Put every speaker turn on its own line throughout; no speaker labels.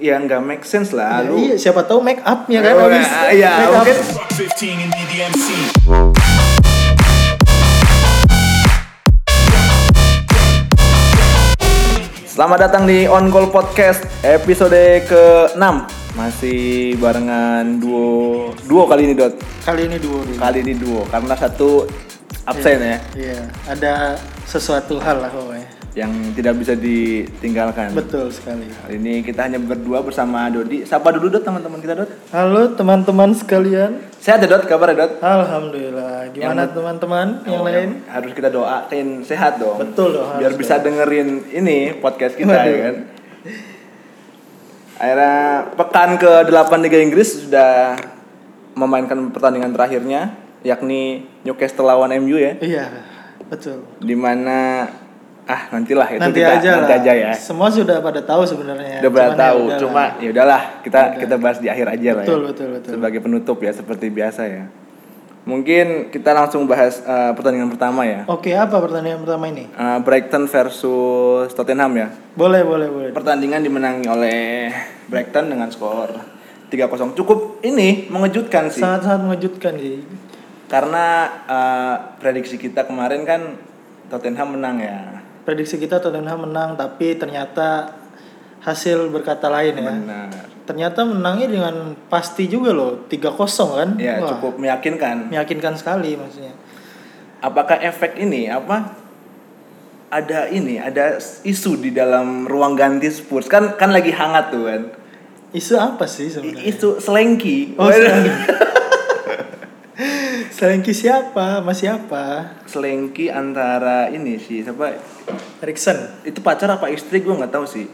ya nggak make sense lah
Ya,
lu
iya, siapa tahu make upnya kan
Oh,
habis.
ya, ya,
Make up.
mungkin.
Fuck 15 and be the MC.
Selamat datang di On Call Podcast episode ke-6 Masih barengan duo Duo kali ini Dot
Kali ini duo dulu.
Kali ini duo Karena satu absen ya
Iya, ada sesuatu hal lah pokoknya.
Yang tidak bisa ditinggalkan
Betul sekali.
Kali ini kita hanya berdua bersama Dodi Sapa dulu Dot teman-teman kita Dot
Halo teman-teman sekalian.
Sehat ya Dot, kabar ya Dot?
Alhamdulillah. Gimana teman-teman yang lain?
Harus kita doain sehat dong
Betul dong,
Biar
harus
bisa
dong.
dengerin ini podcast kita ya
Waduh.
kan Akhirnya pekan ke-8 Liga Inggris sudah memainkan pertandingan terakhirnya yakni Newcastle lawan MU ya
Iya, betul.
dimana ah nantilah itu
nanti
kita
aja
nanti
lah.
aja ya
Semua sudah pada tahu sebenarnya.
udah pada
Cuman ya
tahu
udahlah.
cuma ya udahlah kita kita bahas di akhir aja lah ya
Betul, betul, betul.
sebagai penutup ya seperti biasa ya mungkin kita langsung bahas eh, pertandingan pertama ya
Oke, apa pertandingan pertama ini?
Eh, Brighton versus Tottenham ya
Boleh, boleh, boleh.
pertandingan dimenangi oleh Brighton dengan skor 3-0 cukup ini mengejutkan sih
Sangat-sangat mengejutkan sih.
karena eh, prediksi kita kemarin kan Tottenham menang ya
Prediksi kita Tottenham menang, tapi ternyata hasil berkata lain ya.
benar
Ternyata menangnya dengan pasti juga loh, 3-0 kan?
ya
Wah,
cukup meyakinkan
Meyakinkan sekali maksudnya.
apakah efek ini apa ada ini ada isu di dalam ruang ganti Spurs kan kan lagi hangat tuh kan
Isu apa
I-
sih sebenarnya?
isu selengki
Iya, Oh, selengki. Selengki siapa? Mas siapa?
selengki antara ini sih siapa
Erikson.
itu pacar apa istri gue nggak tahu sih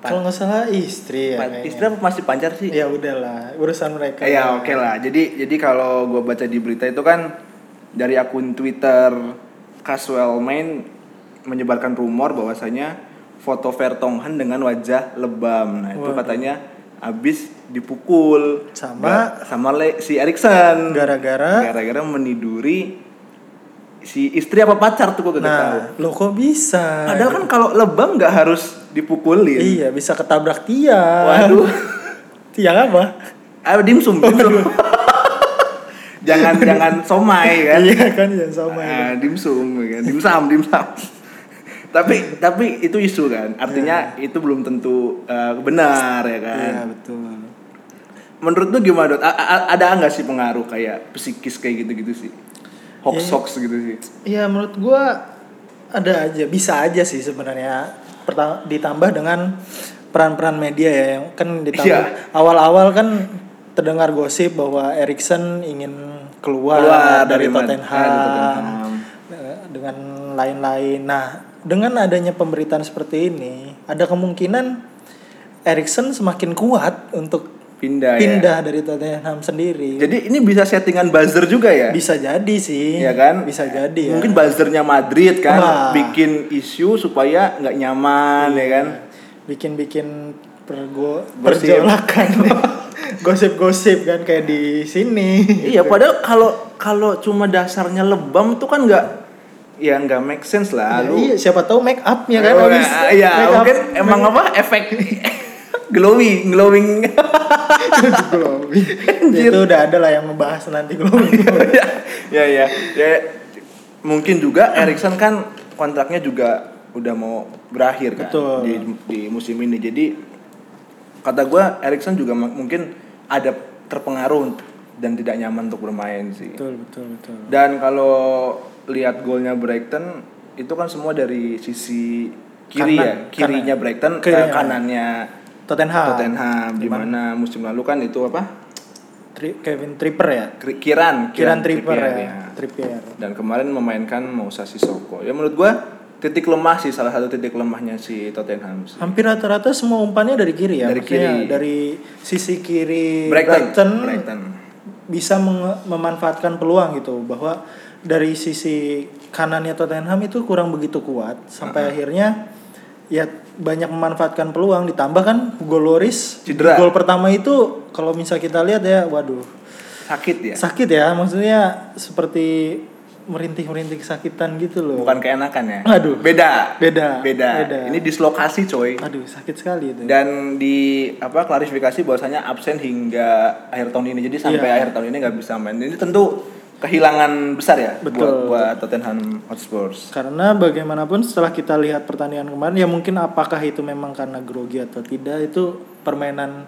Pa-
Kalau nggak salah istri ya.
pa-
kayaknya.
istri apa masih pacar sih
Ya udahlah, urusan mereka.
Eh, ya oke lah. Jadi jadi kalau gue baca di berita itu kan dari akun Twitter Casual Main menyebarkan rumor bahwasanya foto Vertonghen dengan wajah lebam. Nah itu
Waduh.
katanya abis dipukul
Sama-
Ga- sama le, si Erikson
Gara-gara
gara-gara meniduri si istri apa pacar tuh gue gak tahu.
Nah, lo kok bisa?
Padahal kan kalau lebam nggak harus dipukulin.
Iya, bisa ketabrak tiang.
Waduh.
tiang apa?
Ayo dimsum. dimsum. jangan jangan somai kan.
iya kan yang sama ya.
Ah, dimsum ya kan. dimsum dimsum tapi tapi itu isu kan artinya itu belum tentu eh, benar ya kan
Iya, betul.
menurut lu gimana dot A- a- ada nggak sih pengaruh kayak psikis kayak gitu gitu sih hoax
Ya.
hoax gitu sih
Iya, menurut gua ada aja, bisa aja sih sebenarnya. Perta- ditambah dengan peran-peran media ya yang kan ditambah
Iya.
awal-awal kan terdengar gosip bahwa Erikson ingin keluar,
Keluar
dari,
dari Madrid,
Tottenham,
dari Tottenham.
eh, dengan lain-lain. Nah, dengan adanya pemberitaan seperti ini, ada kemungkinan Erikson semakin kuat untuk
pindah,
pindah dari Tottenham sendiri.
ya jadi ini bisa settingan buzzer juga ya
bisa jadi sih.
Iya kan
Bisa jadi ya.
mungkin buzzernya Madrid kan
Wah.
bikin isu supaya nggak nyaman ya kan
Iya. bikin-bikin pergo
Gosip.
perjolakan. Gosip-gosip kan kayak di sini. Gitu.
Iya, padahal kalau kalau cuma dasarnya lebam tuh kan nggak ya nggak make sense lah.
Ya,
lu
iya, siapa tahu make upnya kan
Oh,
habis.
ya, Iya,
Make up.
mungkin emang apa efek glowing, glowing.
Glowing. Gitu Ya, itu udah ada lah yang membahas nanti gitu. glowing.
ya, ya, ya, ya. Mungkin juga Erikson kan kontraknya juga udah mau berakhir kan
Betul.
di di musim ini. Jadi kata gua Erikson juga ma- mungkin ada terpengaruh dan tidak nyaman untuk bermain sih.
betul, betul, betul.
Dan kalau lihat golnya Brighton itu kan semua dari sisi kiri
Kanan, ya. Ah,
ya, kirinya
kanan.
Brighton, eh,
Kirinya.
kanannya
Tottenham.
Tottenham di mana musim lalu kan itu apa?
Tri- Kevin Tripper ya?
Kri- Kiran,
Kiran Tripper ya.
Trippier, iya.
Trippier.
Dan kemarin memainkan Moussa Sissoko. Ya menurut gua titik lemah sih salah satu titik lemahnya si Tottenham sih.
Hampir rata-rata semua umpannya dari kiri ya.
Dari
Maksudnya
kiri.
Dari sisi kiri
Brighton,
Brighton
Brighton.
bisa menge- memanfaatkan peluang gitu bahwa dari sisi kanannya Tottenham itu kurang begitu kuat sampai akhirnya ya banyak memanfaatkan peluang ditambah kan Hugo Loris
Cedera.
gol pertama itu kalau misal kita lihat ya waduh
Sakit ya.
sakit ya maksudnya seperti merintih-merintih kesakitan gitu loh.
bukan keenakan ya
Aduh.
beda
Beda,
beda
beda.
ini dislokasi coy
Aduh, sakit sekali itu.
dan di apa klarifikasi bahwasanya absen hingga akhir tahun ini jadi sampai
Iya.
akhir tahun ini nggak bisa main ini tentu kehilangan besar ya buat
Betul.
buat Tottenham Hotspur
Karena bagaimanapun setelah kita lihat pertandingan kemarin ya mungkin apakah itu memang karena grogi atau tidak itu permainan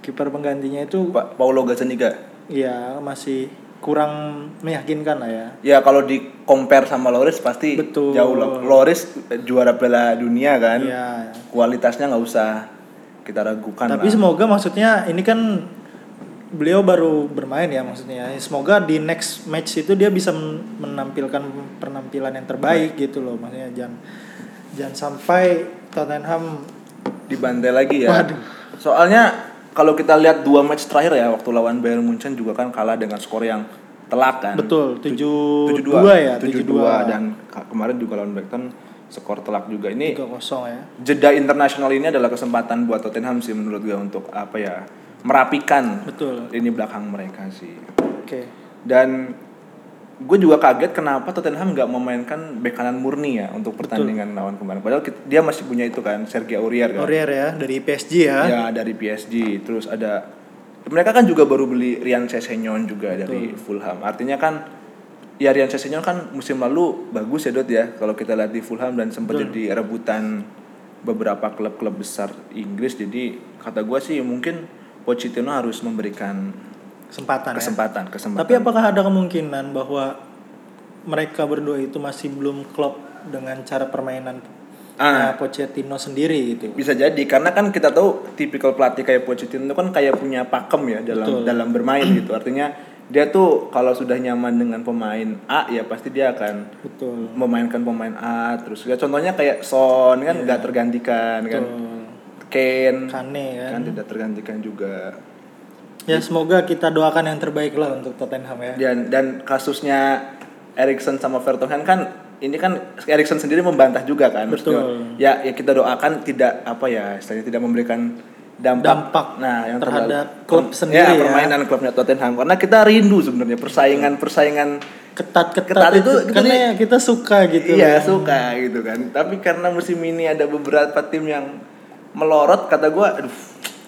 kiper penggantinya itu
Pa- Paulo Gazzaniga
ya masih kurang meyakinkan lah ya.
ya kalau di compare sama Loris pasti
Betul.
jauh lah. Loris eh, juara Piala Dunia kan
Iya.
kualitasnya nggak usah kita ragukan
Tapi
lah.
semoga maksudnya ini kan beliau baru bermain ya maksudnya. Semoga di next match itu dia bisa men- menampilkan penampilan yang terbaik gitu loh maksudnya jangan jangan sampai Tottenham
dibantai lagi ya.
Waduh.
Soalnya kalau kita lihat dua match terakhir ya waktu lawan Bayern Munchen juga kan kalah dengan skor yang telak kan.
betul 72
72
ya
72
72
dan ka- kemarin juga lawan Brighton skor telak juga. Ini
3-0 ya.
jeda internasional ini adalah kesempatan buat Tottenham sih menurut gue untuk apa ya merapikan
Betul.
lini belakang mereka sih.
Oke.
Dan gue juga kaget kenapa Tottenham nggak memainkan bek kanan murni ya untuk pertandingan lawan kemarin. Padahal kit- dia masih punya itu kan Sergio Aurier kan.
Aurier ya dari PSG ya.
ya dari PSG terus ada mereka kan juga baru beli Rian Sessegnon juga dari Fulham artinya kan ya Rian Sessegnon kan musim lalu bagus ya Dot ya kalau kita lihat di Fulham dan sempat jadi rebutan beberapa klub-klub besar Inggris jadi kata gue sih mungkin Pochettino harus memberikan
Kesempatan ya.
kesempatan kesempatan
Tapi apakah ada kemungkinan bahwa mereka berdua itu masih belum klop dengan cara permainan
Ah.
nah, Pochettino sendiri gitu?
bisa jadi karena kan kita tahu tipikal pelatih kayak Pochettino itu kan kayak punya pakem ya dalam
Betul.
dalam bermain gitu artinya dia tuh kalau sudah nyaman dengan pemain A ya pasti dia akan
Betul.
memainkan pemain A terus ya contohnya kayak Son kan nggak tergantikan kan Kane
Kane kan.
kan tidak tergantikan juga
Ya semoga kita doakan yang terbaik lah untuk Tottenham ya.
dan dan kasusnya Erikson sama Vertonghen kan ini kan Erikson sendiri membantah juga kan maksudnya,
Betul.
ya ya kita doakan tidak apa ya istilahnya tidak memberikan dampak, Nah,
Dampak terhadap
terlalu-
klub
per-
sendiri
ya,
ya.
permainan klubnya Tottenham karena kita rindu sebenarnya persaingan persaingan Ketat
Ketat-ketat itu,
itu
karena
kita-
ya kita suka gitu.
iya suka gitu kan tapi karena musim ini ada beberapa tim yang melorot kata gua aduh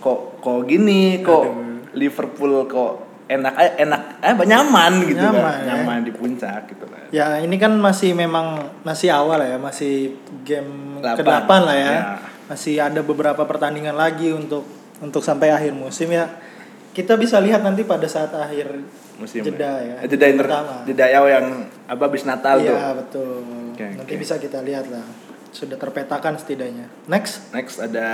kok kok gini kok Liverpool kok enak enak eh nyaman gitu
Nyaman,
kan
ya.
nyaman di puncak gitu kan
Ya ini kan masih memang masih awal ya, masih game
Delapan.
ke-8 lah ya.
Ya.
Masih ada beberapa pertandingan lagi untuk untuk sampai akhir musim ya. Kita bisa lihat nanti pada saat akhir
musim
jeda ya.
Eh, jeda inter
pertama.
jeda yang yang apa bis Natal tuh
Iya, betul.
Oke,
nanti
oke.
bisa kita lihat lah. Sudah terpetakan setidaknya. Next.
next ada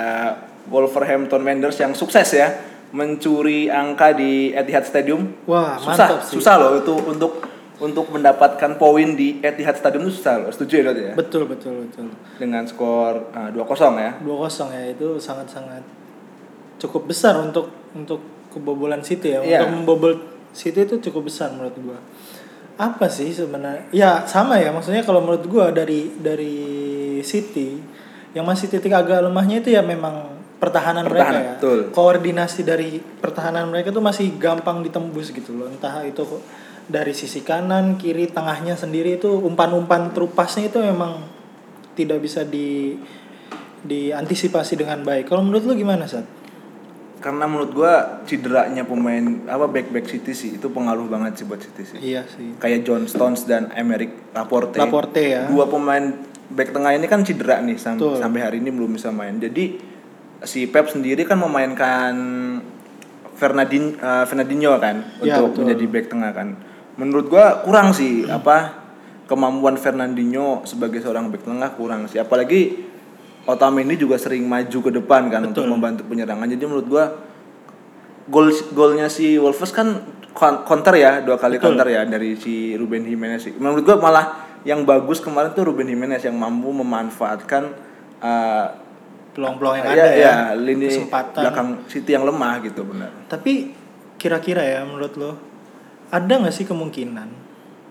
Wolverhampton Wanderers yang sukses ya mencuri angka di Etihad Stadium susah
Wah, Ah, mantap sih.
susah loh itu untuk untuk mendapatkan poin di Etihad Stadium itu susah loh setuju ya Dot ya
Betul, betul, betul.
dengan skor eh, 2-0 ya
2-0 ya itu sangat-sangat cukup besar untuk untuk kebobolan City ya.
Iya.
Untuk membobol City itu cukup besar menurut gua. Apa sih sebenarnya? Ya sama ya maksudnya kalau menurut gua dari dari City yang masih titik agak lemahnya itu ya memang
Pertahanan,
pertahanan, mereka ya.
betul.
Koordinasi dari pertahanan mereka tuh masih gampang ditembus gitu loh. Entah itu kok dari sisi kanan, kiri, tengahnya sendiri itu umpan-umpan terupasnya itu memang tidak bisa di diantisipasi dengan baik. Kalau menurut lu gimana, Sat?
karena menurut gua cederanya pemain apa back back City sih itu pengaruh banget sih buat City sih
Iya sih.
kayak John Stones dan Emerick Laporte
Laporte ya.
dua pemain back tengah ini kan cedera nih sam-
Betul.
sampai hari ini belum bisa main jadi si Pep sendiri kan memainkan Fernandin eh, Fernandinho kan
Ya,
untuk
betul.
menjadi back tengah kan menurut gua kurang sih apa kemampuan Fernandinho sebagai seorang back tengah kurang sih apalagi Otamendi juga sering maju ke depan kan untuk membantu penyerangan jadi menurut gua gol golnya si Wolves kan kon- counter ya dua kali counter ya dari si Ruben Jimenez sih. Menurut gua malah yang bagus kemarin tuh Ruben Jimenez yang mampu memanfaatkan uh,
Peluang-peluang
ya,
yang ada ya.
ya, lini
kesempatan.
belakang City yang lemah gitu benar.
Tapi kira-kira ya menurut lo ada nggak sih kemungkinan?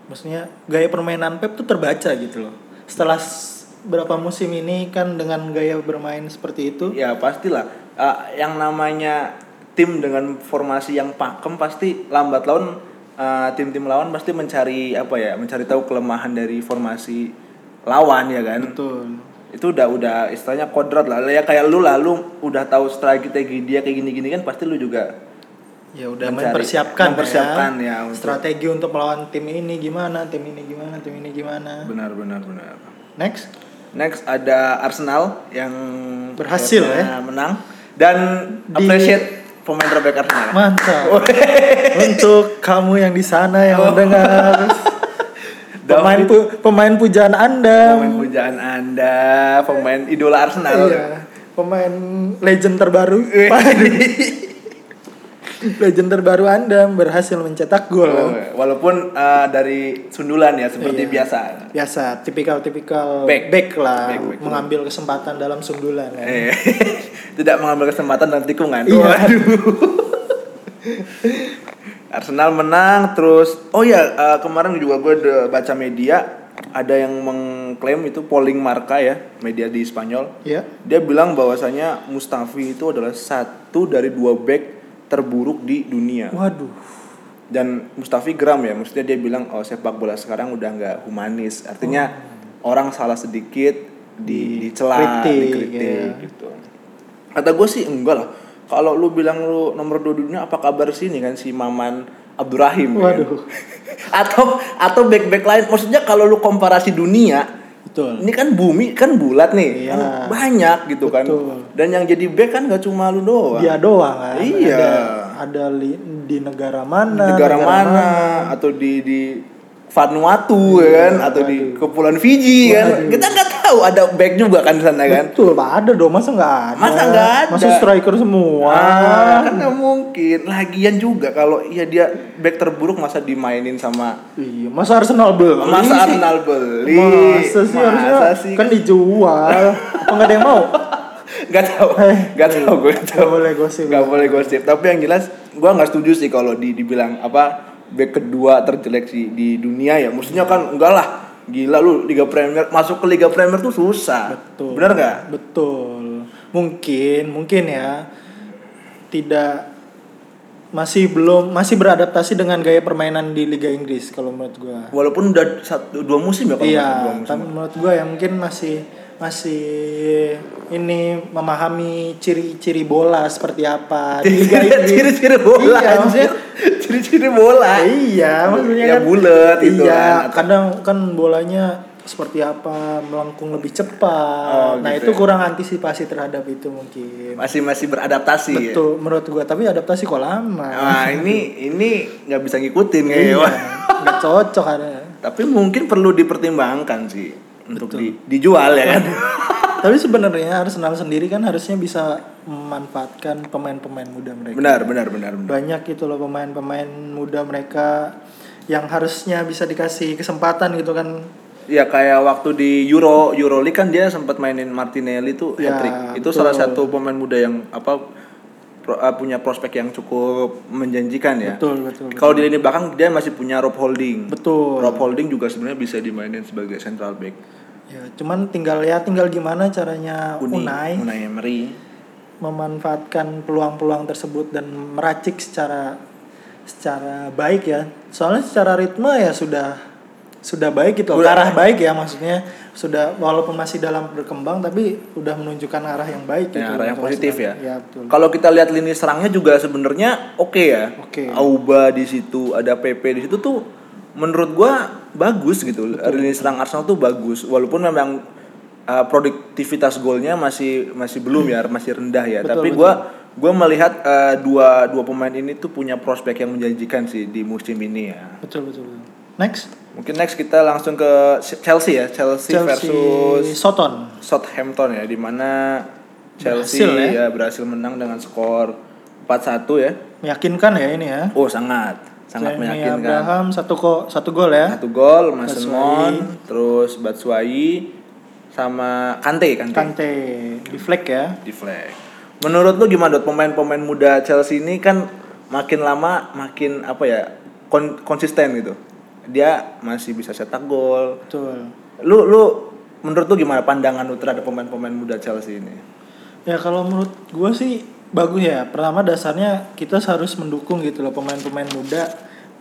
Maksudnya gaya permainan Pep tuh terbaca gitu loh. Setelah s- berapa musim ini kan dengan gaya bermain seperti itu,
Ya pastilah Ah, Uh, yang namanya tim dengan formasi yang pakem pasti lambat laun eh, tim-tim lawan pasti mencari apa ya, mencari tahu kelemahan dari formasi lawan ya kan.
Betul.
Itu udah udah istilahnya kodrat lah. Ya kayak lu lah lu udah tahu strategi dia kayak gini-gini kan pasti lu juga
Ya udah
Mencari-
mempersiapkan,
mempersiapkan ya untuk-
strategi untuk melawan tim ini gimana, tim ini gimana, tim ini gimana.
benar benar benar.
Next.
Next ada Arsenal yang
Berhasil,
akhirnya menang dan
Di-
appreciate pemain terbaik Arsenal.
Mantap. untuk kamu yang di
Oh.
sana yang mendengar pemain pu- pemain pujaan Anda.
pemain pujaan Anda, pemain idola Arsenal.
Iya. Pemain legend terbaru. Waduh. legend terbaru Anda berhasil mencetak gol.
Oh, iya. Walaupun eh, dari sundulan ya seperti
Oh. Iya.
biasa.
Biasa, tipikal-tipikal
Back.
back, lah,
Back, back.
mengambil kesempatan dalam sundulan.
Eh,
ya.
tidak mengambil kesempatan dan tikungan.
Iya.
Arsenal menang terus oh ya eh, kemarin juga gue de- baca media ada yang mengklaim itu polling marka ya media di Spanyol
Iya.
dia bilang bahwasanya Mustafi itu adalah satu dari dua back terburuk di dunia
Waduh.
dan Mustafi geram ya maksudnya dia bilang oh sepak bola sekarang udah nggak humanis artinya
Oh.
orang salah sedikit di dicela
Kritik,
dikritik
ya.
gitu kata gue sih enggak lah kalau lu bilang lu nomor dua di dunia apa kabar sini kan si Maman Abdurrahim ya kan?
Waduh.
atau atau back back lain maksudnya kalau lu komparasi dunia
Betul.
ini kan bumi kan bulat nih
Iya.
kan banyak gitu
Betul.
kan dan yang jadi back kan gak cuma lu doang
Dia doang kan.
Iya.
Ada, ada li- di negara mana?
negara mana, atau di di Vanuatu ya
Iya,
kan atau di Kepulauan Fiji kan kita nggak tahu ada back juga kan di sana kan
Betul, Pak. Ada dong, masa nggak ada?
Masa nggak ada?
Masa striker semua.
Wah, kan nggak mungkin. Lagian juga kalau ya dia back terburuk masa dimainin sama
Iya, masa Arsenal beli?
masa Arsenal beli.
Masa sih harusnya
sih?
kan dijual. Apa nggak ada yang mau?
Nggak tahu,
Eh.
nggak tahu gue nggak
Gak
tahu.
boleh gosip.
Nggak boleh gosip. Tapi yang jelas gue nggak setuju sih kalau di dibilang apa back kedua terjelek di, di dunia ya. Maksudnya kan enggak lah. Gila lu Liga Premier masuk ke Liga Premier tuh susah.
Betul.
Bener nggak?
Betul. Mungkin, mungkin ya tidak masih belum masih beradaptasi dengan gaya permainan di Liga Inggris kalau menurut gua.
Walaupun udah satu dua musim ya kalau nggak salah, dua
Iya,
musim.
tapi menurut gua ya mungkin masih masih ini memahami ciri-ciri bola seperti apa di Liga
Iya,
Inggris.
ciri-ciri bola
Iya,
anjir.
maksudnya-
ciri-ciri bola
iya, maksudnya
Ah, ya
kan-
bulat gitu
Iya,
kan.
kadang kan bolanya seperti apa melengkung lebih
Oh,
cepat. nah,
gitu
itu
ya.
kurang antisipasi terhadap itu mungkin.
masih masih beradaptasi ya.
Betul menurut gua, tapi adaptasi kok lama.
Nah, ini ini nggak bisa ngikutin kayaknya.
Iya,
Wah.
nggak cocok ada.
Tapi mungkin perlu dipertimbangkan sih untuk di, dijual ya kan.
Tapi sebenarnya Arsenal sendiri kan harusnya bisa memanfaatkan pemain-pemain muda mereka.
benar, benar, benar, benar.
Banyak gitu loh pemain-pemain muda mereka yang harusnya bisa dikasih kesempatan gitu kan.
Ya kayak waktu di Euro Euroleague kan dia sempat mainin Martinelli tuh
Ya,
hat-trick. Itu
betul.
salah satu pemain muda yang apa pro- eh, punya prospek yang cukup menjanjikan ya.
Betul, betul.
Kalau di lini belakang dia masih punya Rob Holding.
Betul.
Rob Holding juga sebenarnya bisa dimainin sebagai central back.
Ya, cuman tinggal ya tinggal gimana caranya
Uni-
Unai
Unai Emery.
memanfaatkan peluang-peluang tersebut dan meracik secara secara baik ya. Soalnya secara ritme ya sudah sudah baik gitu,
Udah.
arah baik ya maksudnya sudah walaupun masih dalam berkembang tapi udah menunjukkan arah yang baik gitu.
Ya, arah yang
untuk
positif ya.
Arsenal. Iya, betul.
Kalau kita lihat lini serangnya juga sebenarnya oke ya.
Oke.
Auba di situ, ada PP di situ tuh menurut gua bagus gitu. Lini serang Arsenal tuh bagus walaupun memang uh, produktivitas golnya masih masih belum ya, masih rendah ya.
Betul,
Tapi gua gua melihat uh, dua dua pemain ini tuh punya prospek yang menjanjikan sih di musim ini ya.
Betul betul. betul. Next
Mungkin next kita langsung ke Chelsea ya. Chelsea,
Chelsea
versus
Soton.
Southampton ya di mana Chelsea
Berhasil ya.
ya. berhasil menang dengan skor 4-1 ya.
Meyakinkan ya ini ya.
Oh, sangat sangat
Tammy
meyakinkan.
Abraham satu ko, satu gol ya.
Satu gol Mason
Batshuayi.
Mount, terus Batshuayi sama Kante Kante,
Kante di flag ya.
di flag. Menurut lu gimana Dot pemain-pemain muda Chelsea ini kan makin lama makin apa ya kon- konsisten gitu. Dia masih bisa cetak gol.
Betul.
Lu lu menurut lu gimana pandangan lu terhadap pemain-pemain muda Chelsea ini?
Ya kalau menurut gue sih bagus ya. Pertama dasarnya kita harus mendukung gitu loh pemain-pemain muda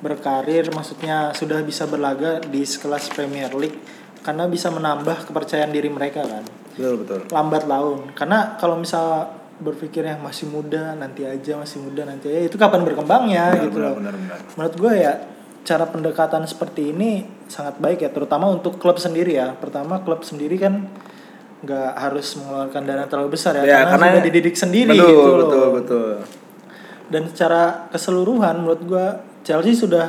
berkarir maksudnya sudah bisa berlaga di sekelas Premier League karena bisa menambah kepercayaan diri mereka kan
Betul betul.
lambat laun karena kalau misal berpikirnya masih muda nanti aja masih muda nanti aja itu kapan berkembangnya
Benar,
gitu
benar,
loh
benar, benar.
menurut gue ya cara pendekatan seperti ini sangat baik ya terutama untuk klub sendiri ya pertama klub sendiri kan nggak harus mengeluarkan dana terlalu besar ya, karena, sudah dididik sendiri
betul,
gitu loh Gitu
Betul betul
dan secara keseluruhan menurut gue Chelsea sudah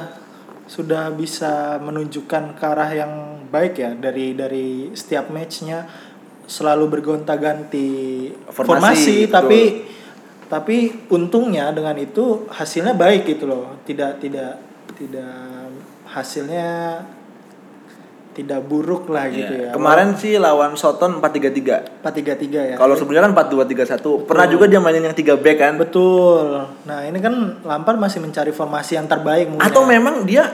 sudah bisa menunjukkan ke arah yang baik ya dari dari setiap matchnya selalu bergonta-ganti
Formasi,
formasi,
betul.
tapi tapi untungnya dengan itu hasilnya baik gitu loh tidak tidak tidak hasilnya tidak buruk lah gitu
Iya.
ya
Kemarin sih lawan Soton 4-3-3.
4-3-3 ya
Kalau sebelumnya kan 4-2-3-1. Pernah juga dia mainin yang 3 back kan.
betul nah ini kan Lampard masih mencari formasi yang terbaik mungkin
Atau
ya.
memang dia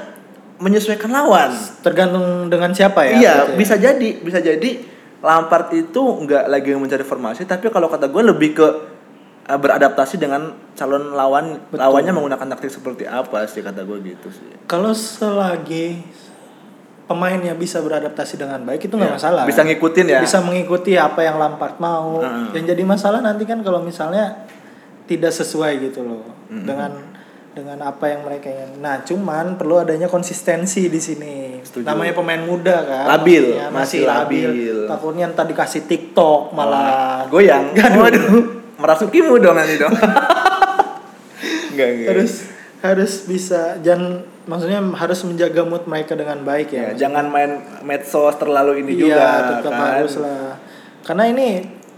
menyesuaikan lawan.
tergantung dengan siapa ya
iya,
berarti ya?
bisa jadi, bisa jadi Lampard itu nggak lagi mencari formasi, tapi kalau kata gue lebih ke eh, beradaptasi dengan calon lawan lawannya menggunakan taktik seperti apa sih kata gue gitu sih.
kalau selagi pemainnya bisa beradaptasi dengan baik itu nggak
Iya.
masalah
Bisa ngikutin ya.
bisa mengikuti apa yang Lampard mau
Heeh.
yang jadi masalah nanti kan kalau misalnya tidak sesuai gitu loh dengan dengan apa yang mereka ingin nah cuman perlu adanya konsistensi di sini
Setuju.
namanya pemain muda kan
Labil,
maksudnya
masih labil.
takutnya ntar dikasih TikTok malah
goyang. Waduh, merasukimu dong nanti dong. Enggak, enggak.
harus harus bisa jangan maksudnya harus menjaga mood mereka dengan baik ya.
Ya, jangan main medsos terlalu ini
iya,
juga
tetap
kan.
harus lah. Karena ini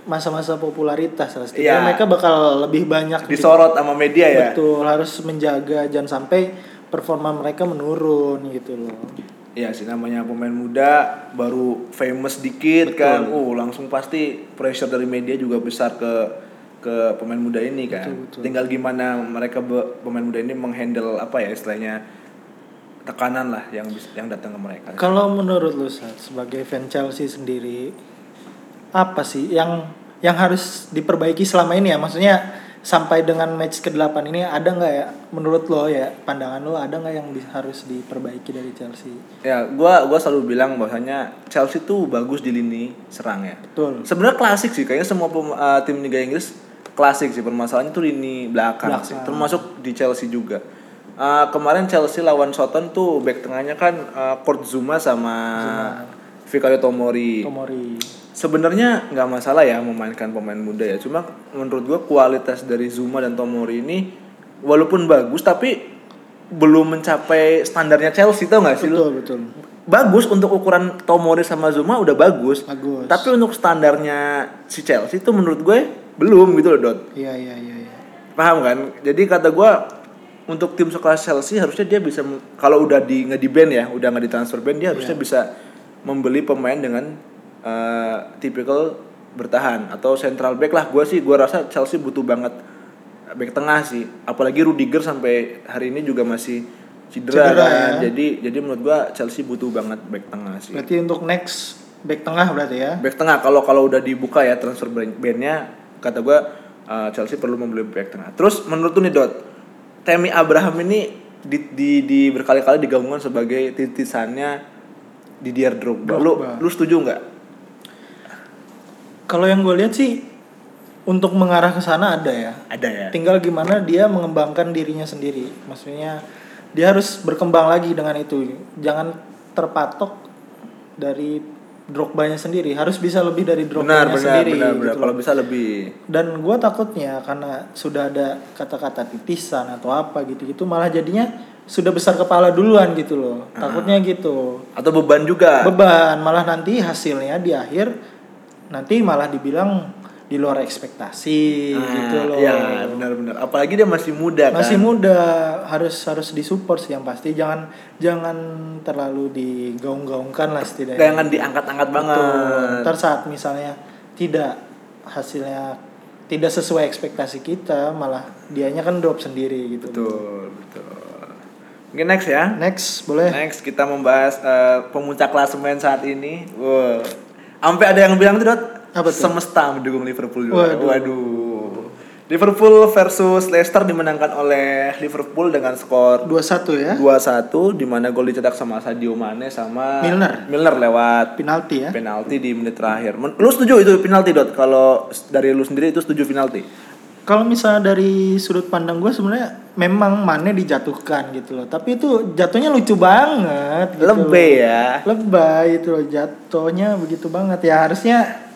masa-masa popularitas lah.
Iya.
Setidaknya mereka bakal lebih banyak di-
Disorot sama media ya.
Betul, harus menjaga jangan sampai performa mereka menurun gitu loh.
Iya sih namanya pemain muda baru famous dikit kan. Uh langsung pasti pressure dari media juga besar ke ke pemain muda ini kan.
Betul, betul.
Tinggal gimana mereka be- pemain muda ini menghandle apa ya istilahnya tekanan lah yang bis- yang datang ke mereka.
Kalau menurut lu Sat, sebagai fan Chelsea sendiri apa sih yang yang harus diperbaiki selama ini ya? Maksudnya sampai dengan match ke-8 ini ada nggak ya menurut lo ya pandangan lo ada nggak yang di- harus diperbaiki dari Chelsea?
Ya, gua gua selalu bilang bahwasanya Chelsea tuh bagus di lini serang ya.
Betul.
Sebenarnya klasik sih kayaknya semua pem- eh, tim Liga Inggris klasik sih permasalahannya tuh lini belakang,
Belakang.
sih. Termasuk di Chelsea juga. Eh, kemarin Chelsea lawan Soton tuh back tengahnya kan eh, Kurt Zuma sama Vicario Tomori.
Tomori.
Sebenarnya nggak masalah ya memainkan pemain muda ya. Cuma menurut gua kualitas dari Zuma dan Tomori ini walaupun bagus tapi belum mencapai standarnya Chelsea tau gak sih lu?
Betul, betul.
bagus untuk ukuran Tomori sama Zuma udah bagus.
Bagus.
Tapi untuk standarnya si Chelsea itu menurut gue belum gitu loh Dot.
Iya, iya, iya, iya.
Paham kan? Jadi kata gue untuk tim sekelas Chelsea harusnya dia bisa mem- kalau udah di nggak di ban ya, udah nggak di transfer ban dia
Iya.
harusnya bisa membeli pemain dengan eh, tipikal bertahan atau central back lah. Gue sih gue rasa Chelsea butuh banget back tengah sih. Apalagi Rudiger sampai hari ini juga masih cedera, kan.
Cedera ya.
Jadi jadi menurut gue Chelsea butuh banget back tengah sih.
Berarti untuk next back tengah berarti ya.
Back tengah kalau kalau udah dibuka ya transfer ban- ban-nya kata gua uh, Chelsea perlu membeli back tengah. Terus menurut lu nih Dot, Temi Abraham ini di, di, di berkali-kali digaungkan sebagai titisannya Didier Drogba. Lu
Drogba.
lu setuju nggak?
Kalau yang gue lihat sih untuk mengarah ke sana ada ya.
Ada ya.
Tinggal gimana dia mengembangkan dirinya sendiri. Maksudnya dia harus berkembang lagi dengan itu. Jangan terpatok dari Drogba-nya sendiri. Harus bisa lebih dari
Benar,
Drogba-nya
benar,
sendiri.
benar,
gitu
benar.
loh.
Kalau bisa lebih
Dan gue takutnya karena sudah ada kata-kata titisan atau apa gitu-gitu malah jadinya sudah besar kepala duluan gitu loh.
Ah.
Takutnya gitu
atau beban juga.
beban malah nanti hasilnya di akhir nanti malah dibilang di luar ekspektasi
Nah,
gitu loh
Ya, benar-benar. Apalagi dia masih muda kan.
masih muda harus harus disupport sih yang pasti jangan jangan terlalu digaung-gaungkan lah setidaknya
Jangan diangkat-angkat banget.
Betul. ntar saat misalnya tidak hasilnya tidak sesuai ekspektasi kita malah dianya kan drop sendiri gitu
Betul, betul. Mungkin next ya.
next boleh
Next kita membahas eh, pemuncak klasemen saat ini. Wow. Sampai ada yang bilang tuh, Dot,
Apa tuh?
semesta mendukung Liverpool. juga.
Waduh.
Waduh. Liverpool versus Leicester dimenangkan oleh Liverpool dengan skor
2-1 ya.
2-1 di mana gol dicetak sama Sadio Mane sama
Milner.
Milner lewat
Penalti ya.
penalti di menit terakhir. Men- Lu setuju itu penalti dot? Kalau s- dari lu sendiri itu setuju penalti?
Kalau misalnya dari sudut pandang gue sebenarnya memang Mane dijatuhkan gitu loh. Tapi itu jatuhnya lucu banget gitu.
Lebih ya.
lebay itu loh jatuhnya begitu banget ya harusnya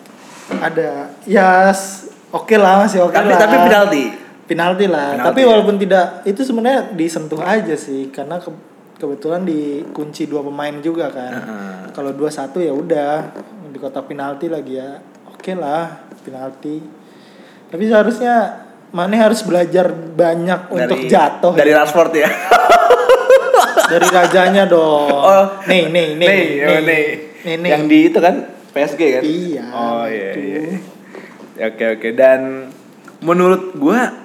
ada ya s- oke lah masih oke
Tapi
lah
tapi penalti.
penalti lah
Penalti
tapi
ya.
walaupun tidak itu sebenarnya disentuh aja sih karena ke- kebetulan dikunci dua pemain juga kan
Heeh.
kalau dua satu ya udah di kotak penalti lagi ya oke lah penalti tapi seharusnya Mane harus belajar banyak untuk
Dari-
jatuh
Dari Rashford ya.
dari rajanya dong nih nih nih
Nih, oh, nih.
nih, nih.
Yang di itu kan PSG kan?
Iya,
Oh iya
itu.
iya. Ya, Oke oke dan menurut gua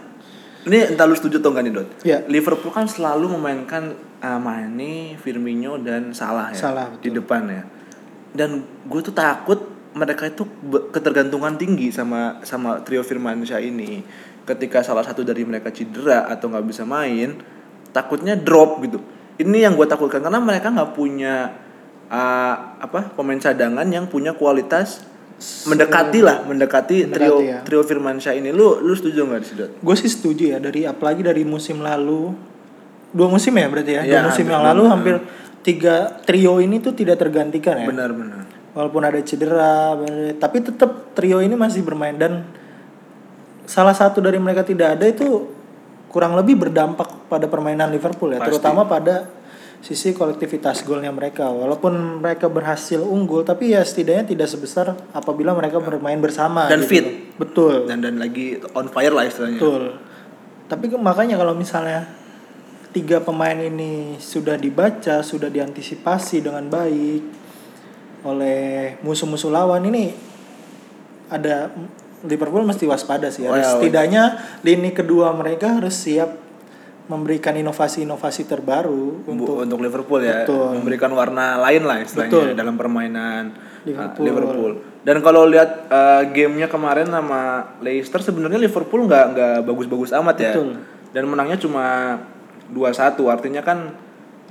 ini entah lu setuju atau enggak nih Dot.
Iya.
Liverpool kan selalu memainkan uh, Mane, Firmino dan Salah ya
Salah,
di depan ya. Dan gue tuh takut mereka itu be- ketergantungan tinggi sama sama trio Firmansyah ini. Ketika salah satu dari mereka cedera atau nggak bisa main, takutnya drop gitu. Ini yang gue takutkan karena mereka nggak punya uh, apa pemain cadangan yang punya kualitas mendekati lah mendekati, trio
Mendekati ya.
trio Firmansyah ini. Lu lu setuju nggak di situ?
gue sih setuju ya dari apalagi dari musim lalu dua musim ya berarti ya, dua
Iya,
musim
hampir
yang
dua
lalu
musim.
hampir tiga trio ini tuh tidak tergantikan ya
Benar benar.
walaupun ada cedera bener- tapi tetap trio ini masih bermain dan salah satu dari mereka tidak ada itu kurang lebih berdampak pada permainan Liverpool ya
Pasti.
terutama pada sisi kolektivitas golnya mereka walaupun mereka berhasil unggul tapi ya setidaknya tidak sebesar apabila mereka bermain bersama
Iya.
gitu
Dan fit.
loh. betul
Dan dan lagi on fire lah istilahnya.
Betul. Tapi ke- makanya kalau misalnya tiga pemain ini sudah dibaca, sudah diantisipasi dengan baik oleh musuh-musuh lawan ini ada Liverpool mesti waspada sih. Harus-
Well.
Setidaknya lini kedua mereka harus siap memberikan inovasi-inovasi terbaru
Bu-
untuk
untuk, Liverpool ya
Betul.
memberikan warna lain lah istilahnya
Betul.
dalam permainan uh,
Liverpool.
Liverpool. Dan kalau lihat uh, gamenya kemarin sama Leicester sebenarnya Liverpool nggak nggak bagus-bagus amat ya.
Betul.
Dan menangnya cuma 2-1 artinya kan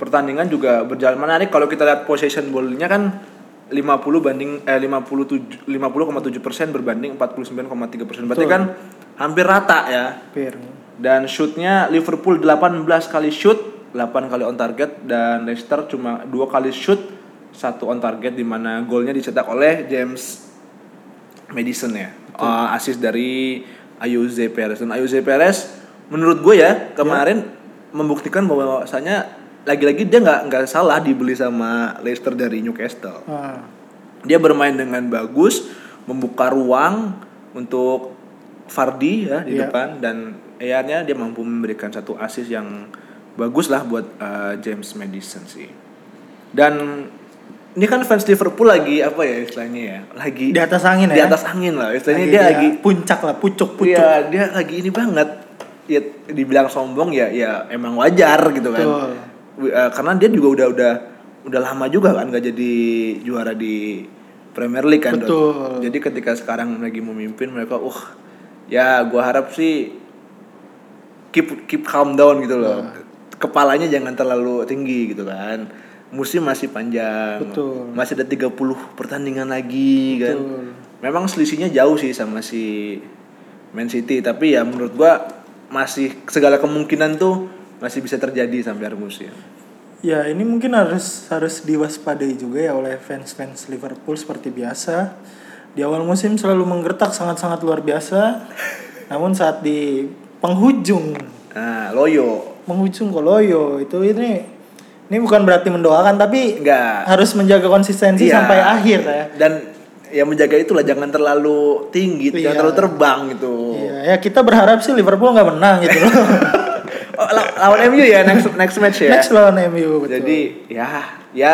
pertandingan juga berjalan menarik kalau kita lihat possession ball-nya kan 50 banding eh 57 50,7% berbanding 49,3%. Berarti
Betul.
kan hampir rata ya
Pierre.
dan shootnya Liverpool 18 kali shoot 8 kali on target dan Leicester cuma dua kali shoot satu on target di mana golnya dicetak oleh James Madison ya Eh, asis dari Ayuze Perez dan Ayuze Perez menurut gue ya kemarin membuktikan bahwasanya lagi-lagi dia nggak nggak salah dibeli sama Leicester dari Newcastle
Ah,
dia bermain dengan bagus membuka ruang untuk Fardi ya di
Iya.
depan dan akhirnya dia mampu memberikan satu assist yang bagus lah buat uh, James Madison sih dan ini kan fans Liverpool lagi apa ya istilahnya ya lagi
Di atas angin
di
ya?
atas angin lah istilahnya
lagi
dia, lagi
puncak lah, pucuk-pucuk.
iya dia lagi ini banget ya dibilang sombong ya ya emang wajar gitu kan
Betul.
Wi- eh, karena dia juga udah udah udah lama juga kan gak jadi juara di Premier League kan Dot.
Betul.
jadi ketika sekarang lagi memimpin mereka uh ya gua harap sih keep keep calm down gitu loh
Nah.
kepalanya jangan terlalu tinggi gitu kan musim masih panjang
Betul.
masih ada 30 pertandingan lagi kan
Betul.
memang selisihnya jauh sih sama si Man City tapi ya menurut gua masih segala kemungkinan tuh masih bisa terjadi sampai akhir musim
Ya ini mungkin harus harus diwaspadai juga ya oleh fans-fans Liverpool seperti biasa. Di awal musim selalu menggertak sangat-sangat luar biasa. Namun saat di penghujung
nah loyo
penghujung koloyo itu ini ini bukan berarti mendoakan tapi
Enggak.
harus menjaga konsistensi
Iya.
sampai akhir ya.
dan ya menjaga itulah jangan terlalu tinggi jangan
Iya.
terlalu terbang gitu
Iya, ya kita berharap sih Liverpool nggak menang gitu loh.
Oh, la- lawan MU ya next next match ya
Next lawan MU betul.
jadi ya ya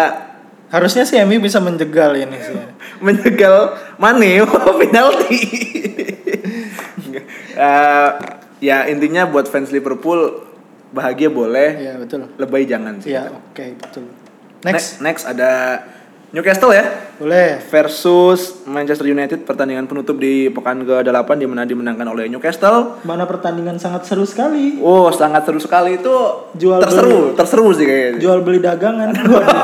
harusnya sih MU bisa menjegal ini sih.
Iya. menjegal Mane penalti. Eh, ya intinya buat fans Liverpool bahagia boleh,
Iya betul.
lebay jangan sih.
Iya, oke betul.
Ne-
Next.
next ada Newcastle ya
Boleh.
versus Manchester United pertandingan penutup di pekan ke-8 di mana dimenangkan oleh Newcastle.
Mana pertandingan sangat seru sekali.
Wow, sangat seru sekali itu.
Jual
terseru, terseru sih kayaknya. Jual,
Jual beli dagangan. Waduh.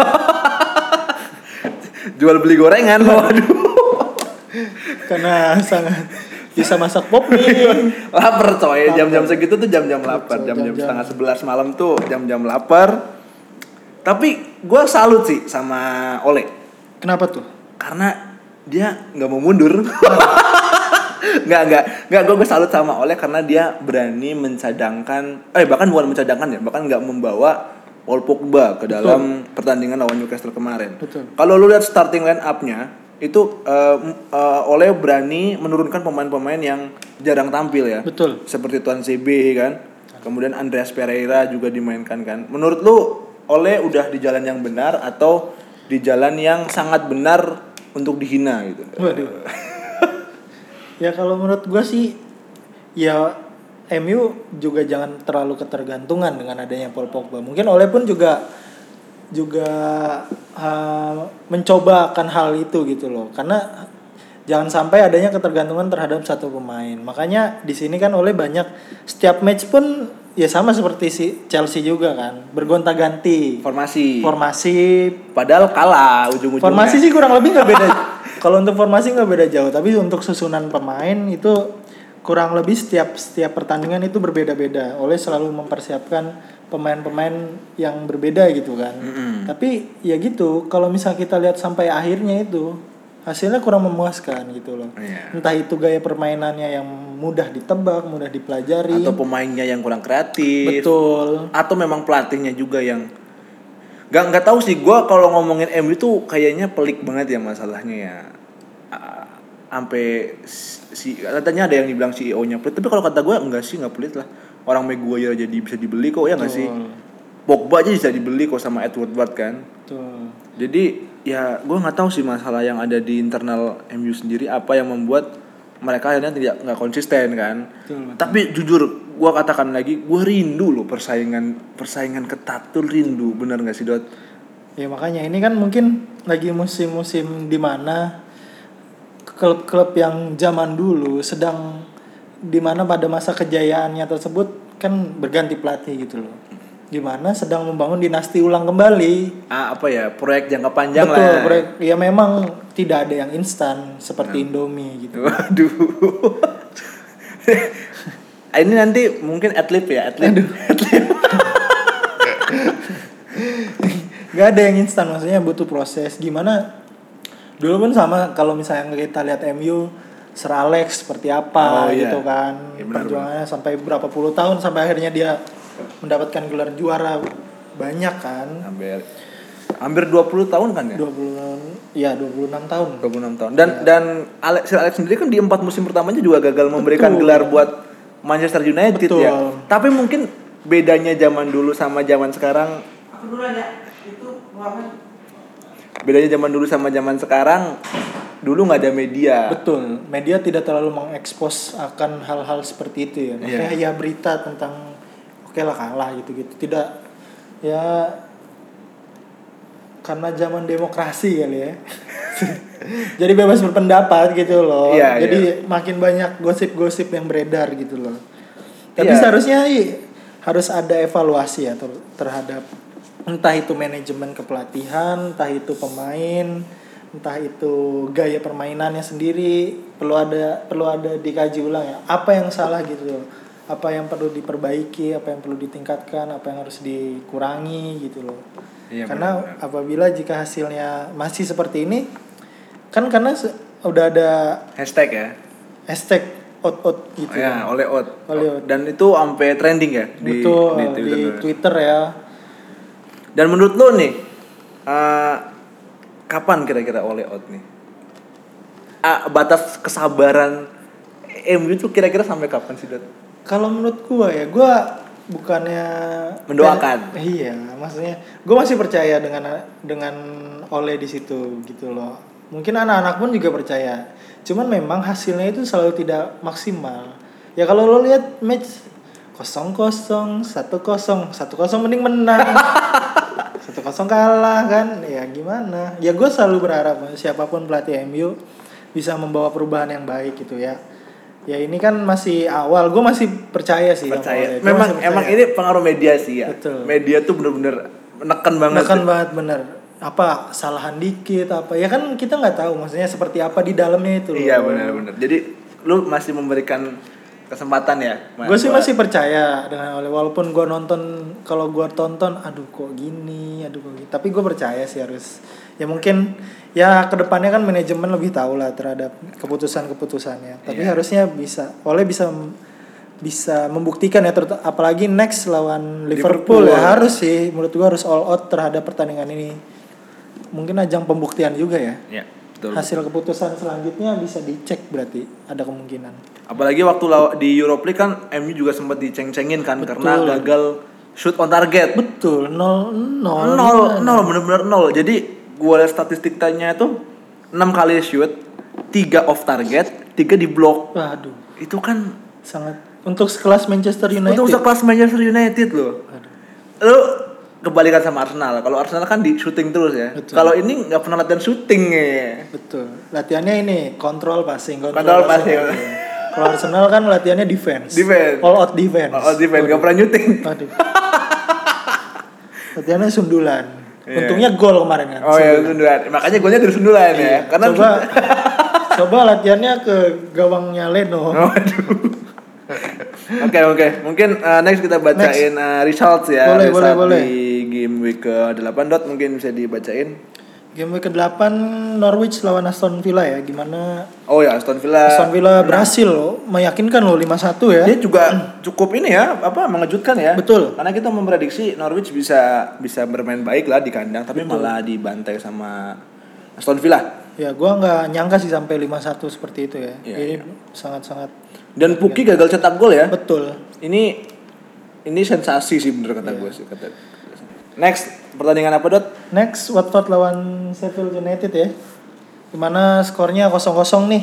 beli gorengan. Waduh,
Karena sangat bisa masak pop nih.
lapar coy. Jam-jam segitu tuh jam-jam lapar.
Coy,
Jam-jam
jam-jam.
setengah sebelas malam tuh jam-jam lapar. Tapi gue salut sih sama Ole
Kenapa tuh?
karena dia nggak mau mundur. Nggak, nggak, nggak. Gue salut sama Ole karena dia berani mencadangkan, eh bahkan bukan mencadangkan ya, bahkan nggak membawa Paul Pogba ke dalam pertandingan lawan Newcastle kemarin.
Betul.
Kalau lu lihat starting line up-nya, itu eh, m- eh, Ole berani menurunkan pemain-pemain yang jarang tampil ya.
Betul.
Seperti Tuan CB kan. Kemudian Andreas Pereira juga dimainkan kan. Menurut lu Ole udah di jalan yang benar atau di jalan yang sangat benar untuk dihina gitu?
Waduh. ya kalau menurut gue sih ya MU juga jangan terlalu ketergantungan dengan adanya Paul Pogba. Mungkin Oleh pun juga juga eh, mencoba akan hal itu gitu loh. Karena jangan sampai adanya ketergantungan terhadap satu pemain. Makanya di sini kan Oleh banyak setiap match pun ya sama seperti si Chelsea juga kan, bergonta-ganti
Formasi.
formasi
Padahal kalah ujung-ujungnya.
Formasi sih kurang lebih nggak beda. Kalau untuk formasi nggak beda jauh, tapi untuk susunan pemain itu kurang lebih setiap setiap pertandingan itu berbeda-beda. Oleh selalu mempersiapkan pemain-pemain yang berbeda gitu kan. Tapi ya gitu, kalau misal kita lihat sampai akhirnya itu hasilnya kurang memuaskan gitu loh.
Iya.
Entah itu gaya permainannya yang mudah ditebak, mudah dipelajari.
atau pemainnya yang kurang kreatif.
betul.
atau memang pelatihnya juga yang nggak nggak tahu sih gue kalau ngomongin MU tuh kayaknya pelik banget ya masalahnya ya A- sampai si katanya ada yang dibilang CEO-nya pelit tapi kalau kata gue enggak sih nggak pelit lah orang Maguire jadi bisa dibeli kok ya nggak sih Pogba aja bisa dibeli kok sama Edward Ward kan
Betul.
jadi ya gue nggak tahu sih masalah yang ada di internal MU sendiri apa yang membuat mereka akhirnya tidak nggak konsisten kan.
Betul, betul.
Tapi jujur gue katakan lagi gue rindu loh persaingan persaingan ketat tuh rindu bener nggak sih dot?
Ya makanya ini kan mungkin lagi musim-musim dimana klub-klub yang zaman dulu sedang dimana pada masa kejayaannya tersebut kan berganti pelatih gitu loh. Dimana sedang membangun dinasti ulang kembali.
Ah, apa ya proyek jangka panjang
Betul,
lah.
proyek- ya memang tidak ada yang instan seperti
Hmm.
Indomie gitu.
Waduh. Ini nanti mungkin atlet ya atlet.
nggak ada yang instan maksudnya butuh proses gimana dulu pun sama kalau misalnya kita lihat MU Sir Alex seperti
Oh,
apa
iya.
gitu kan
Iya, benar,
perjuangannya sampai berapa puluh tahun sampai akhirnya dia mendapatkan gelar juara banyak kan
Hampir hampir 20 tahun kan ya?
20 ya 26 tahun
26 tahun.
Iya.
Dan dan Alex Sir Alex sendiri kan di empat musim pertamanya juga gagal memberikan
Betul.
gelar buat Manchester United
Betul.
ya. Tapi mungkin bedanya zaman dulu sama zaman sekarang bedanya zaman dulu sama zaman sekarang dulu nggak ada media.
betul media tidak terlalu mengekspos akan hal-hal seperti itu ya maksudnya
Iya.
ya berita tentang oke lah kalah gitu-gitu tidak ya karena zaman demokrasi kali ya jadi bebas berpendapat gitu loh
Iya,
jadi makin banyak gosip-gosip yang beredar gitu loh tapi
Iya.
seharusnya i- harus ada evaluasi ya ter- terhadap entah itu manajemen kepelatihan entah itu pemain entah itu gaya permainannya sendiri perlu ada perlu ada dikaji ulang ya apa yang salah gitu loh apa yang perlu diperbaiki apa yang perlu ditingkatkan apa yang harus dikurangi gitu loh
Iya,
karena apabila jika hasilnya masih seperti ini kan karena se- udah ada
Hashtag ya.
hashtag out out gitu
Ya, oleh Ot.
Oleh Ot.
Dan itu sampai trending ya di di
betul di,
Twitter.
Twitter ya
Dan menurut lo nih eh, kapan kira-kira oleh Ot nih? Ah, batas kesabaran MU itu kira-kira sampai kapan sih, Dot?
kalau menurut gua ya gua bukannya
Mendoakan.
iya maksudnya gua masih percaya dengan dengan oleh di situ gitu loh mungkin anak-anak pun juga percaya cuman memang hasilnya itu selalu tidak maksimal ya kalau lo lihat match kosong kosong satu kosong satu kosong mending menang 1-0 kosong kalah kan ya gimana ya gue selalu berharap siapapun pelatih MU bisa membawa perubahan yang baik gitu ya ya ini kan masih awal gue masih percaya sih sama
percaya.
Ole. Gua
Memang
masih percaya.
emang ini pengaruh media sih ya.
ya. Betul.
Media tuh bener-bener neken banget.
Menekan banget bener apa kesalahan dikit apa ya kan kita nggak tahu maksudnya seperti apa di dalamnya itu loh.
Iya benar-benar. Jadi lu masih memberikan kesempatan ya.
gue sih masih percaya dengan oleh walaupun gue nonton kalau gue tonton aduh kok gini aduh kok gini tapi gue percaya sih harus ya mungkin ya kedepannya kan manajemen lebih tahu lah terhadap keputusan-keputusannya tapi
Iya.
harusnya bisa oleh bisa bisa membuktikan ya terut- apalagi next lawan
Liverpool.
Liverpool, ya harus sih menurut gue harus all out terhadap pertandingan ini mungkin ajang pembuktian juga ya
Iya, betul.
hasil keputusan selanjutnya bisa dicek berarti ada kemungkinan
Apalagi waktu law- di Europe League kan MU juga sempat diceng-cengin kan
Betul.
karena gagal shoot on target.
betul nol Oh, nol
Eh. nol nol bener-bener nol jadi gua lihat statistiknya itu 6 kali shoot 3 off target 3 di block
Waduh,
itu kan
sangat untuk sekelas Manchester United.
untuk sekelas Manchester United loh
Aduh.
lu kebalikan sama Arsenal kalau Arsenal kan di shooting terus ya
Betul.
kalau ini nggak pernah latihan shooting ya
Betul. Latihannya ini kontrol passing,
Kontrol passing.
Kalau Arsenal kan latihannya defense.
Defense.
All out defense.
oh defense nggak pernah shooting
Aduh. latihannya sundulan.
Iya.
Untungnya gol kemarin kan.
oh ya sundulan makanya golnya dari sundulan ya karena
Iya. coba coba latihannya ke gawangnya Leno.
Waduh. Oke oke, mungkin eh, next kita bacain eh, results ya.
Boleh,
Result
boleh,
di game week ke 8 dot mungkin bisa dibacain.
Game week ke-8 Norwich lawan Aston Villa ya. Gimana
Oh ya Aston Villa.
Aston Villa berhasil loh, meyakinkan loh 5-1 ya.
Dia juga cukup ini ya, apa mengejutkan ya.
Betul.
Karena kita memprediksi Norwich bisa bisa bermain baik lah di kandang, tapi malah dibantai sama Aston Villa.
Ya, gua nggak nyangka sih sampai 5-1 seperti itu ya.
Iya,
Ini sangat-sangat
Dan Puki
Iya.
gagal cetak gol ya.
betul.
Ini ini sensasi sih bener
Iya.
kata gue sih kata. Next pertandingan apa dot?
Next Watford lawan Sheffield United ya. Dimana skornya 0-0 nih.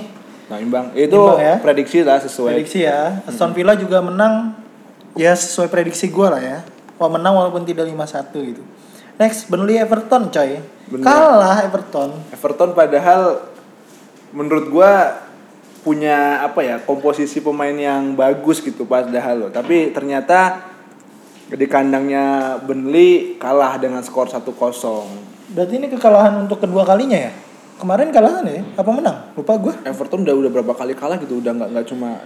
Nah imbang. Itu
Imbang ya.
prediksi lah sesuai
Prediksi ya.
Hmm.
Aston Villa juga menang ya sesuai prediksi gua lah ya. Wah, menang walaupun tidak 5-1 gitu. Next Burnley Everton coy.
Bener.
Kalah Everton.
Everton padahal menurut gua punya apa ya komposisi pemain yang bagus gitu padahal loh tapi ternyata di kandangnya Burnley kalah dengan skor 1-0
Berarti ini kekalahan untuk kedua kalinya ya. Kemarin kalahan ya? Apa menang? Lupa gua.
Everton udah udah berapa kali kalah gitu udah nggak nggak cuma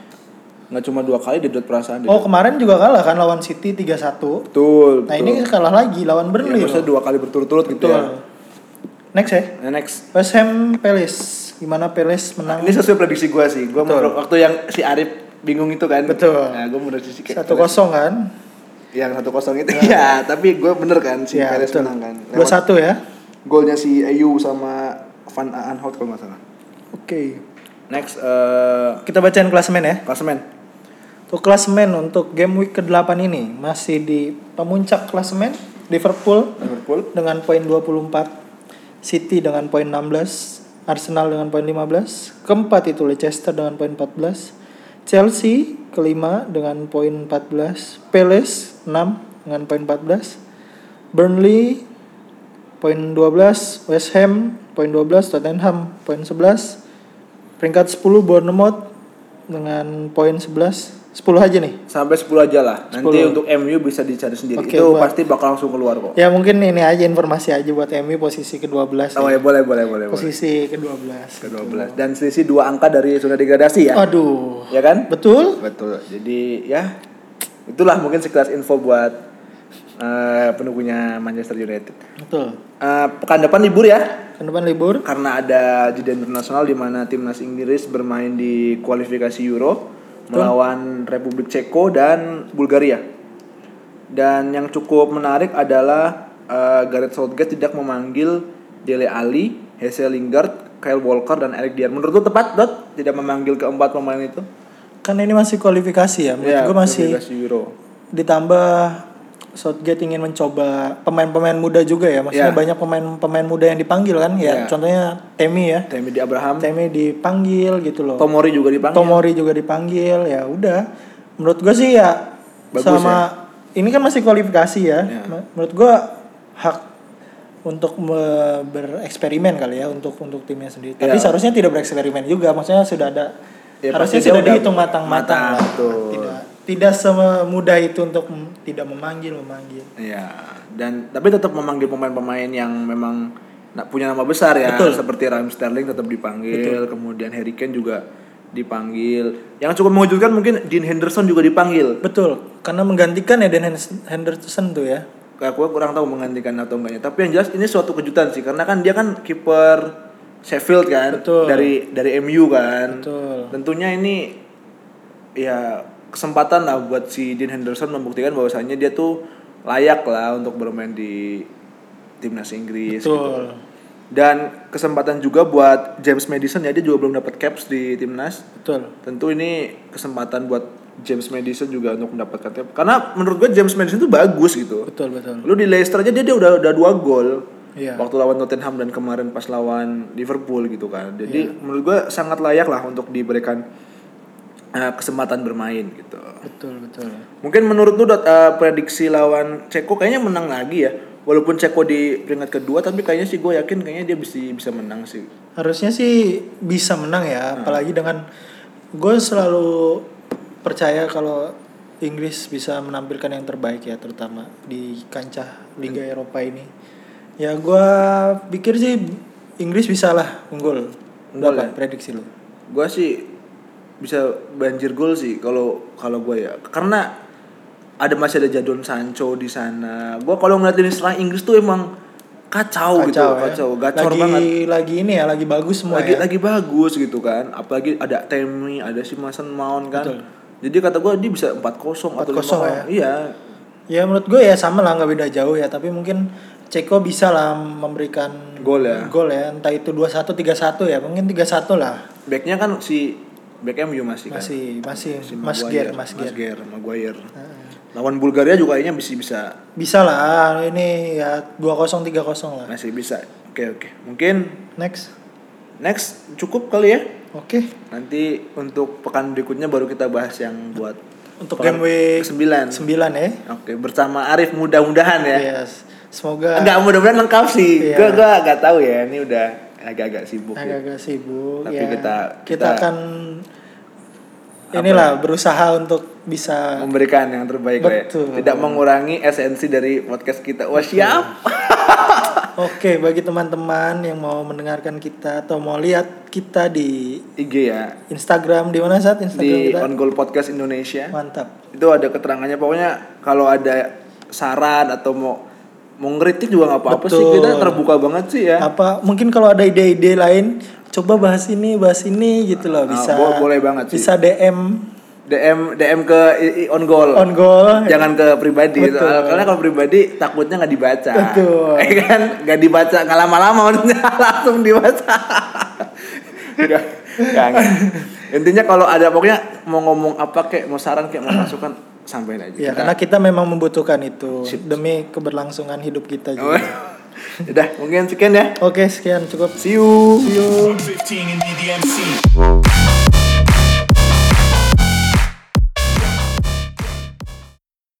nggak cuma dua kali di dot perasaan
Oh, kemarin juga kalah kan lawan City 3-1.
betul
Nah
betul.
ini kalah lagi lawan
Ya,
Burnley.
maksudnya
loh.
dua kali berturut-turut gitu
Betul.
ya
Next ya.
Nah, next
West Ham Palace. Gimana Palace menang?
ini sesuai prediksi gua sih gua
Nah. Betul.
menurut waktu yang si Arif bingung itu kan
Betul.
nah gua menurut sih kayak-
Satu kosong kan?
yang satu kosong itu ya tapi gue bener kan si
Iya
Perez
betul.
menang kan
Dua
Lewat
satu ya.
golnya si Ayu sama Van Aanholt kalau nggak salah
Oke.
next eh
Kita bacain klasemen ya.
klasemen
Untuk klasemen untuk game week ke-8 ini masih di pemuncak klasemen Liverpool
Liverpool
dengan poin 24, City dengan poin 16, Arsenal dengan poin 15, keempat itu Leicester dengan poin 14, Chelsea kelima dengan poin 14, Palace 6 dengan poin 14, Burnley poin 12, West Ham poin 12, Tottenham poin 11, peringkat 10 Bournemouth dengan poin 11, 10 aja nih.
sampai 10 aja lah nanti
10.
untuk MU bisa dicari sendiri
Oke,
itu
buat-
pasti bakal langsung keluar kok
Ya mungkin ini aja informasi aja buat MU posisi ke-12.
oh
ya.
ya boleh boleh boleh boleh
posisi ke-12.
ke 12 dan selisih dua angka dari zona degradasi ya
Aduh.
ya kan
Betul?
betul jadi ya itulah mungkin sekilas info buat eh penunggunya Manchester United
Betul.
Eh pekan depan libur ya
Ke depan libur.
karena ada jeda internasional di mana timnas Inggris bermain di kualifikasi Euro melawan Republik Ceko dan Bulgaria. Dan yang cukup menarik adalah eh, Gareth Southgate tidak memanggil Dele Ali, Hazel Lingard, Kyle Walker dan Eric Dier. Menurut lu tepat, Dot? Tidak memanggil keempat pemain itu?
Kan ini masih kualifikasi ya. Menurut
Ya,
gue masih
kualifikasi Euro.
ditambah Southgate ingin mencoba pemain-pemain muda juga ya. Maksudnya
Ya.
banyak pemain-pemain muda yang dipanggil kan
Ya.
ya. Contohnya Temi ya.
Tammy di Abraham,
Temi dipanggil gitu loh.
Tomori juga dipanggil.
Tomori juga dipanggil. Ya udah. Menurut gue sih ya
Bagus
sama ini kan masih kualifikasi ya.
Ya.
Menurut gue hak untuk me- bereksperimen kali ya untuk untuk timnya sendiri. Tapi
Iya.
seharusnya tidak bereksperimen juga, maksudnya sudah ada
Ya,
harusnya
pasti dia
sudah
udah
dihitung matang-matang.
matang,
lah.
betul.
Tidak tidak semudah itu untuk mem- tidak memanggil memanggil.
Iya. Dan tapi tetap memanggil pemain-pemain yang memang na- punya nama besar ya.
Betul.
Seperti Raheem Sterling tetap dipanggil, kemudian Harry Kane juga dipanggil. Yang cukup mengejutkan mungkin Dean Henderson juga dipanggil.
Betul, karena menggantikan Eden Henderson- Henderson tuh ya.
Kayak gue kurang tahu menggantikan atau enggaknya. Tapi yang jelas ini suatu kejutan sih karena kan dia kan kiper Sheffield kan
Betul.
dari dari MU kan.
Betul.
Tentunya ini ya kesempatan lah buat si Dean Henderson membuktikan bahwasannya dia tuh layak lah untuk bermain di timnas Inggris gitu.
Betul.
Dan kesempatan juga buat James Madison ya dia juga belum dapat caps di timnas.
Betul.
Tentu ini kesempatan buat James Madison juga untuk mendapatkan caps. Karena menurut gue James Madison tuh bagus gitu.
Betul, betul.
Lu di Leicester aja dia, dia udah udah dua gol.
Iya.
Waktu lawan Tottenham dan kemarin pas lawan Liverpool gitu kan. Jadi
Iya.
menurut gue sangat layak lah untuk diberikan eh, kesempatan bermain gitu.
Betul, betul.
Mungkin menurut lu Dot, eh, prediksi lawan Ceko kayaknya menang lagi ya. Walaupun Ceko di peringkat kedua tapi kayaknya sih gue yakin kayaknya dia bisa bisa menang sih.
Harusnya sih bisa menang ya,
Hmm.
apalagi dengan gue selalu percaya kalau Inggris bisa menampilkan yang terbaik ya, terutama di kancah Liga
Hmm.
Eropa ini. Ya gue pikir sih Inggris bisa lah unggul.
Unggul ya?
Berapa prediksi lu?
Gue sih bisa banjir gol sih kalau kalau gue ya. Karena ada masih ada Jadon Sancho di sana. Gue kalau ngeliat lini serang Inggris tuh emang kacau, gitu,
ya.
kacau, gacor
lagi,
banget.
Lagi ini ya, lagi bagus semua
lagi
ya.
lagi bagus gitu kan. Apalagi ada Temi, ada si Mason Mount kan.
Betul.
Jadi kata gue dia bisa 4-0 atau
4-0 ya.
5-0. Iya.
Ya menurut gue ya sama lah nggak beda jauh ya tapi mungkin Ceko bisa lah memberikan
Gol ya.
Gol ya entah itu 2-1 3-1 ya mungkin 3-1 lah.
Backnya kan si back MU masih kan.
Masih masih
Si
Mas
Maguire,
Ger Mas Ah. Ger.
Maguire, Maguire. Lawan Bulgaria juga kayaknya bisa bisa
Bisa lah ah, ini ya 2-0 3-0 lah.
masih bisa. Oke oke. Mungkin
Next.
next cukup kali ya.
Oke.
Nanti untuk pekan berikutnya baru kita bahas yang buat
Untuk
pekan
game week
9.
9 ya.
Oke, bersama Arif mudah-mudahan ya.
Yes. Semoga
Enggak mudah-mudahan lengkap sih.
Iya.
Gue gua agak tahu ya, ini udah agak-agak sibuk. gitu.
agak-agak sibuk
Tapi
ya.
kita-
kita,
kita- ya?
akan inilah berusaha untuk bisa
Memberikan yang terbaik lah ya.
Betul.
Tidak mengurangi esensi dari podcast kita. Wah, siap.
Oke, bagi teman-teman yang mau mendengarkan kita atau mau lihat kita di
IG ya
Instagram di mana saat Instagram
di
kita?
On Goal Podcast Indonesia.
Mantap.
itu ada keterangannya pokoknya kalau ada saran atau mau mau ngeritik juga nggak apa-apa sih
Betul.
kita terbuka banget sih ya
Apa mungkin kalau ada ide-ide lain coba bahas ini, bahas ini gitu loh
Ah,
bisa.
bo- boleh banget sih.
Bisa DM
dm dm ke I- I- on goal
on goal.
jangan ke pribadi
Betul.
karena kalau pribadi takutnya nggak dibaca
Betul.
Ya kan nggak dibaca nggak lama-lama maksudnya langsung dibaca Nggak, nggak, nggak. intinya kalau ada pokoknya mau ngomong apa kayak mau saran kayak mau masukan sampaikan aja
Ya,
Kita-
karena kita memang membutuhkan itu demi keberlangsungan hidup kita
Oh.
juga.
udah mungkin sekian ya
Oke, sekian cukup.
see you
See you.
15 in DDMC.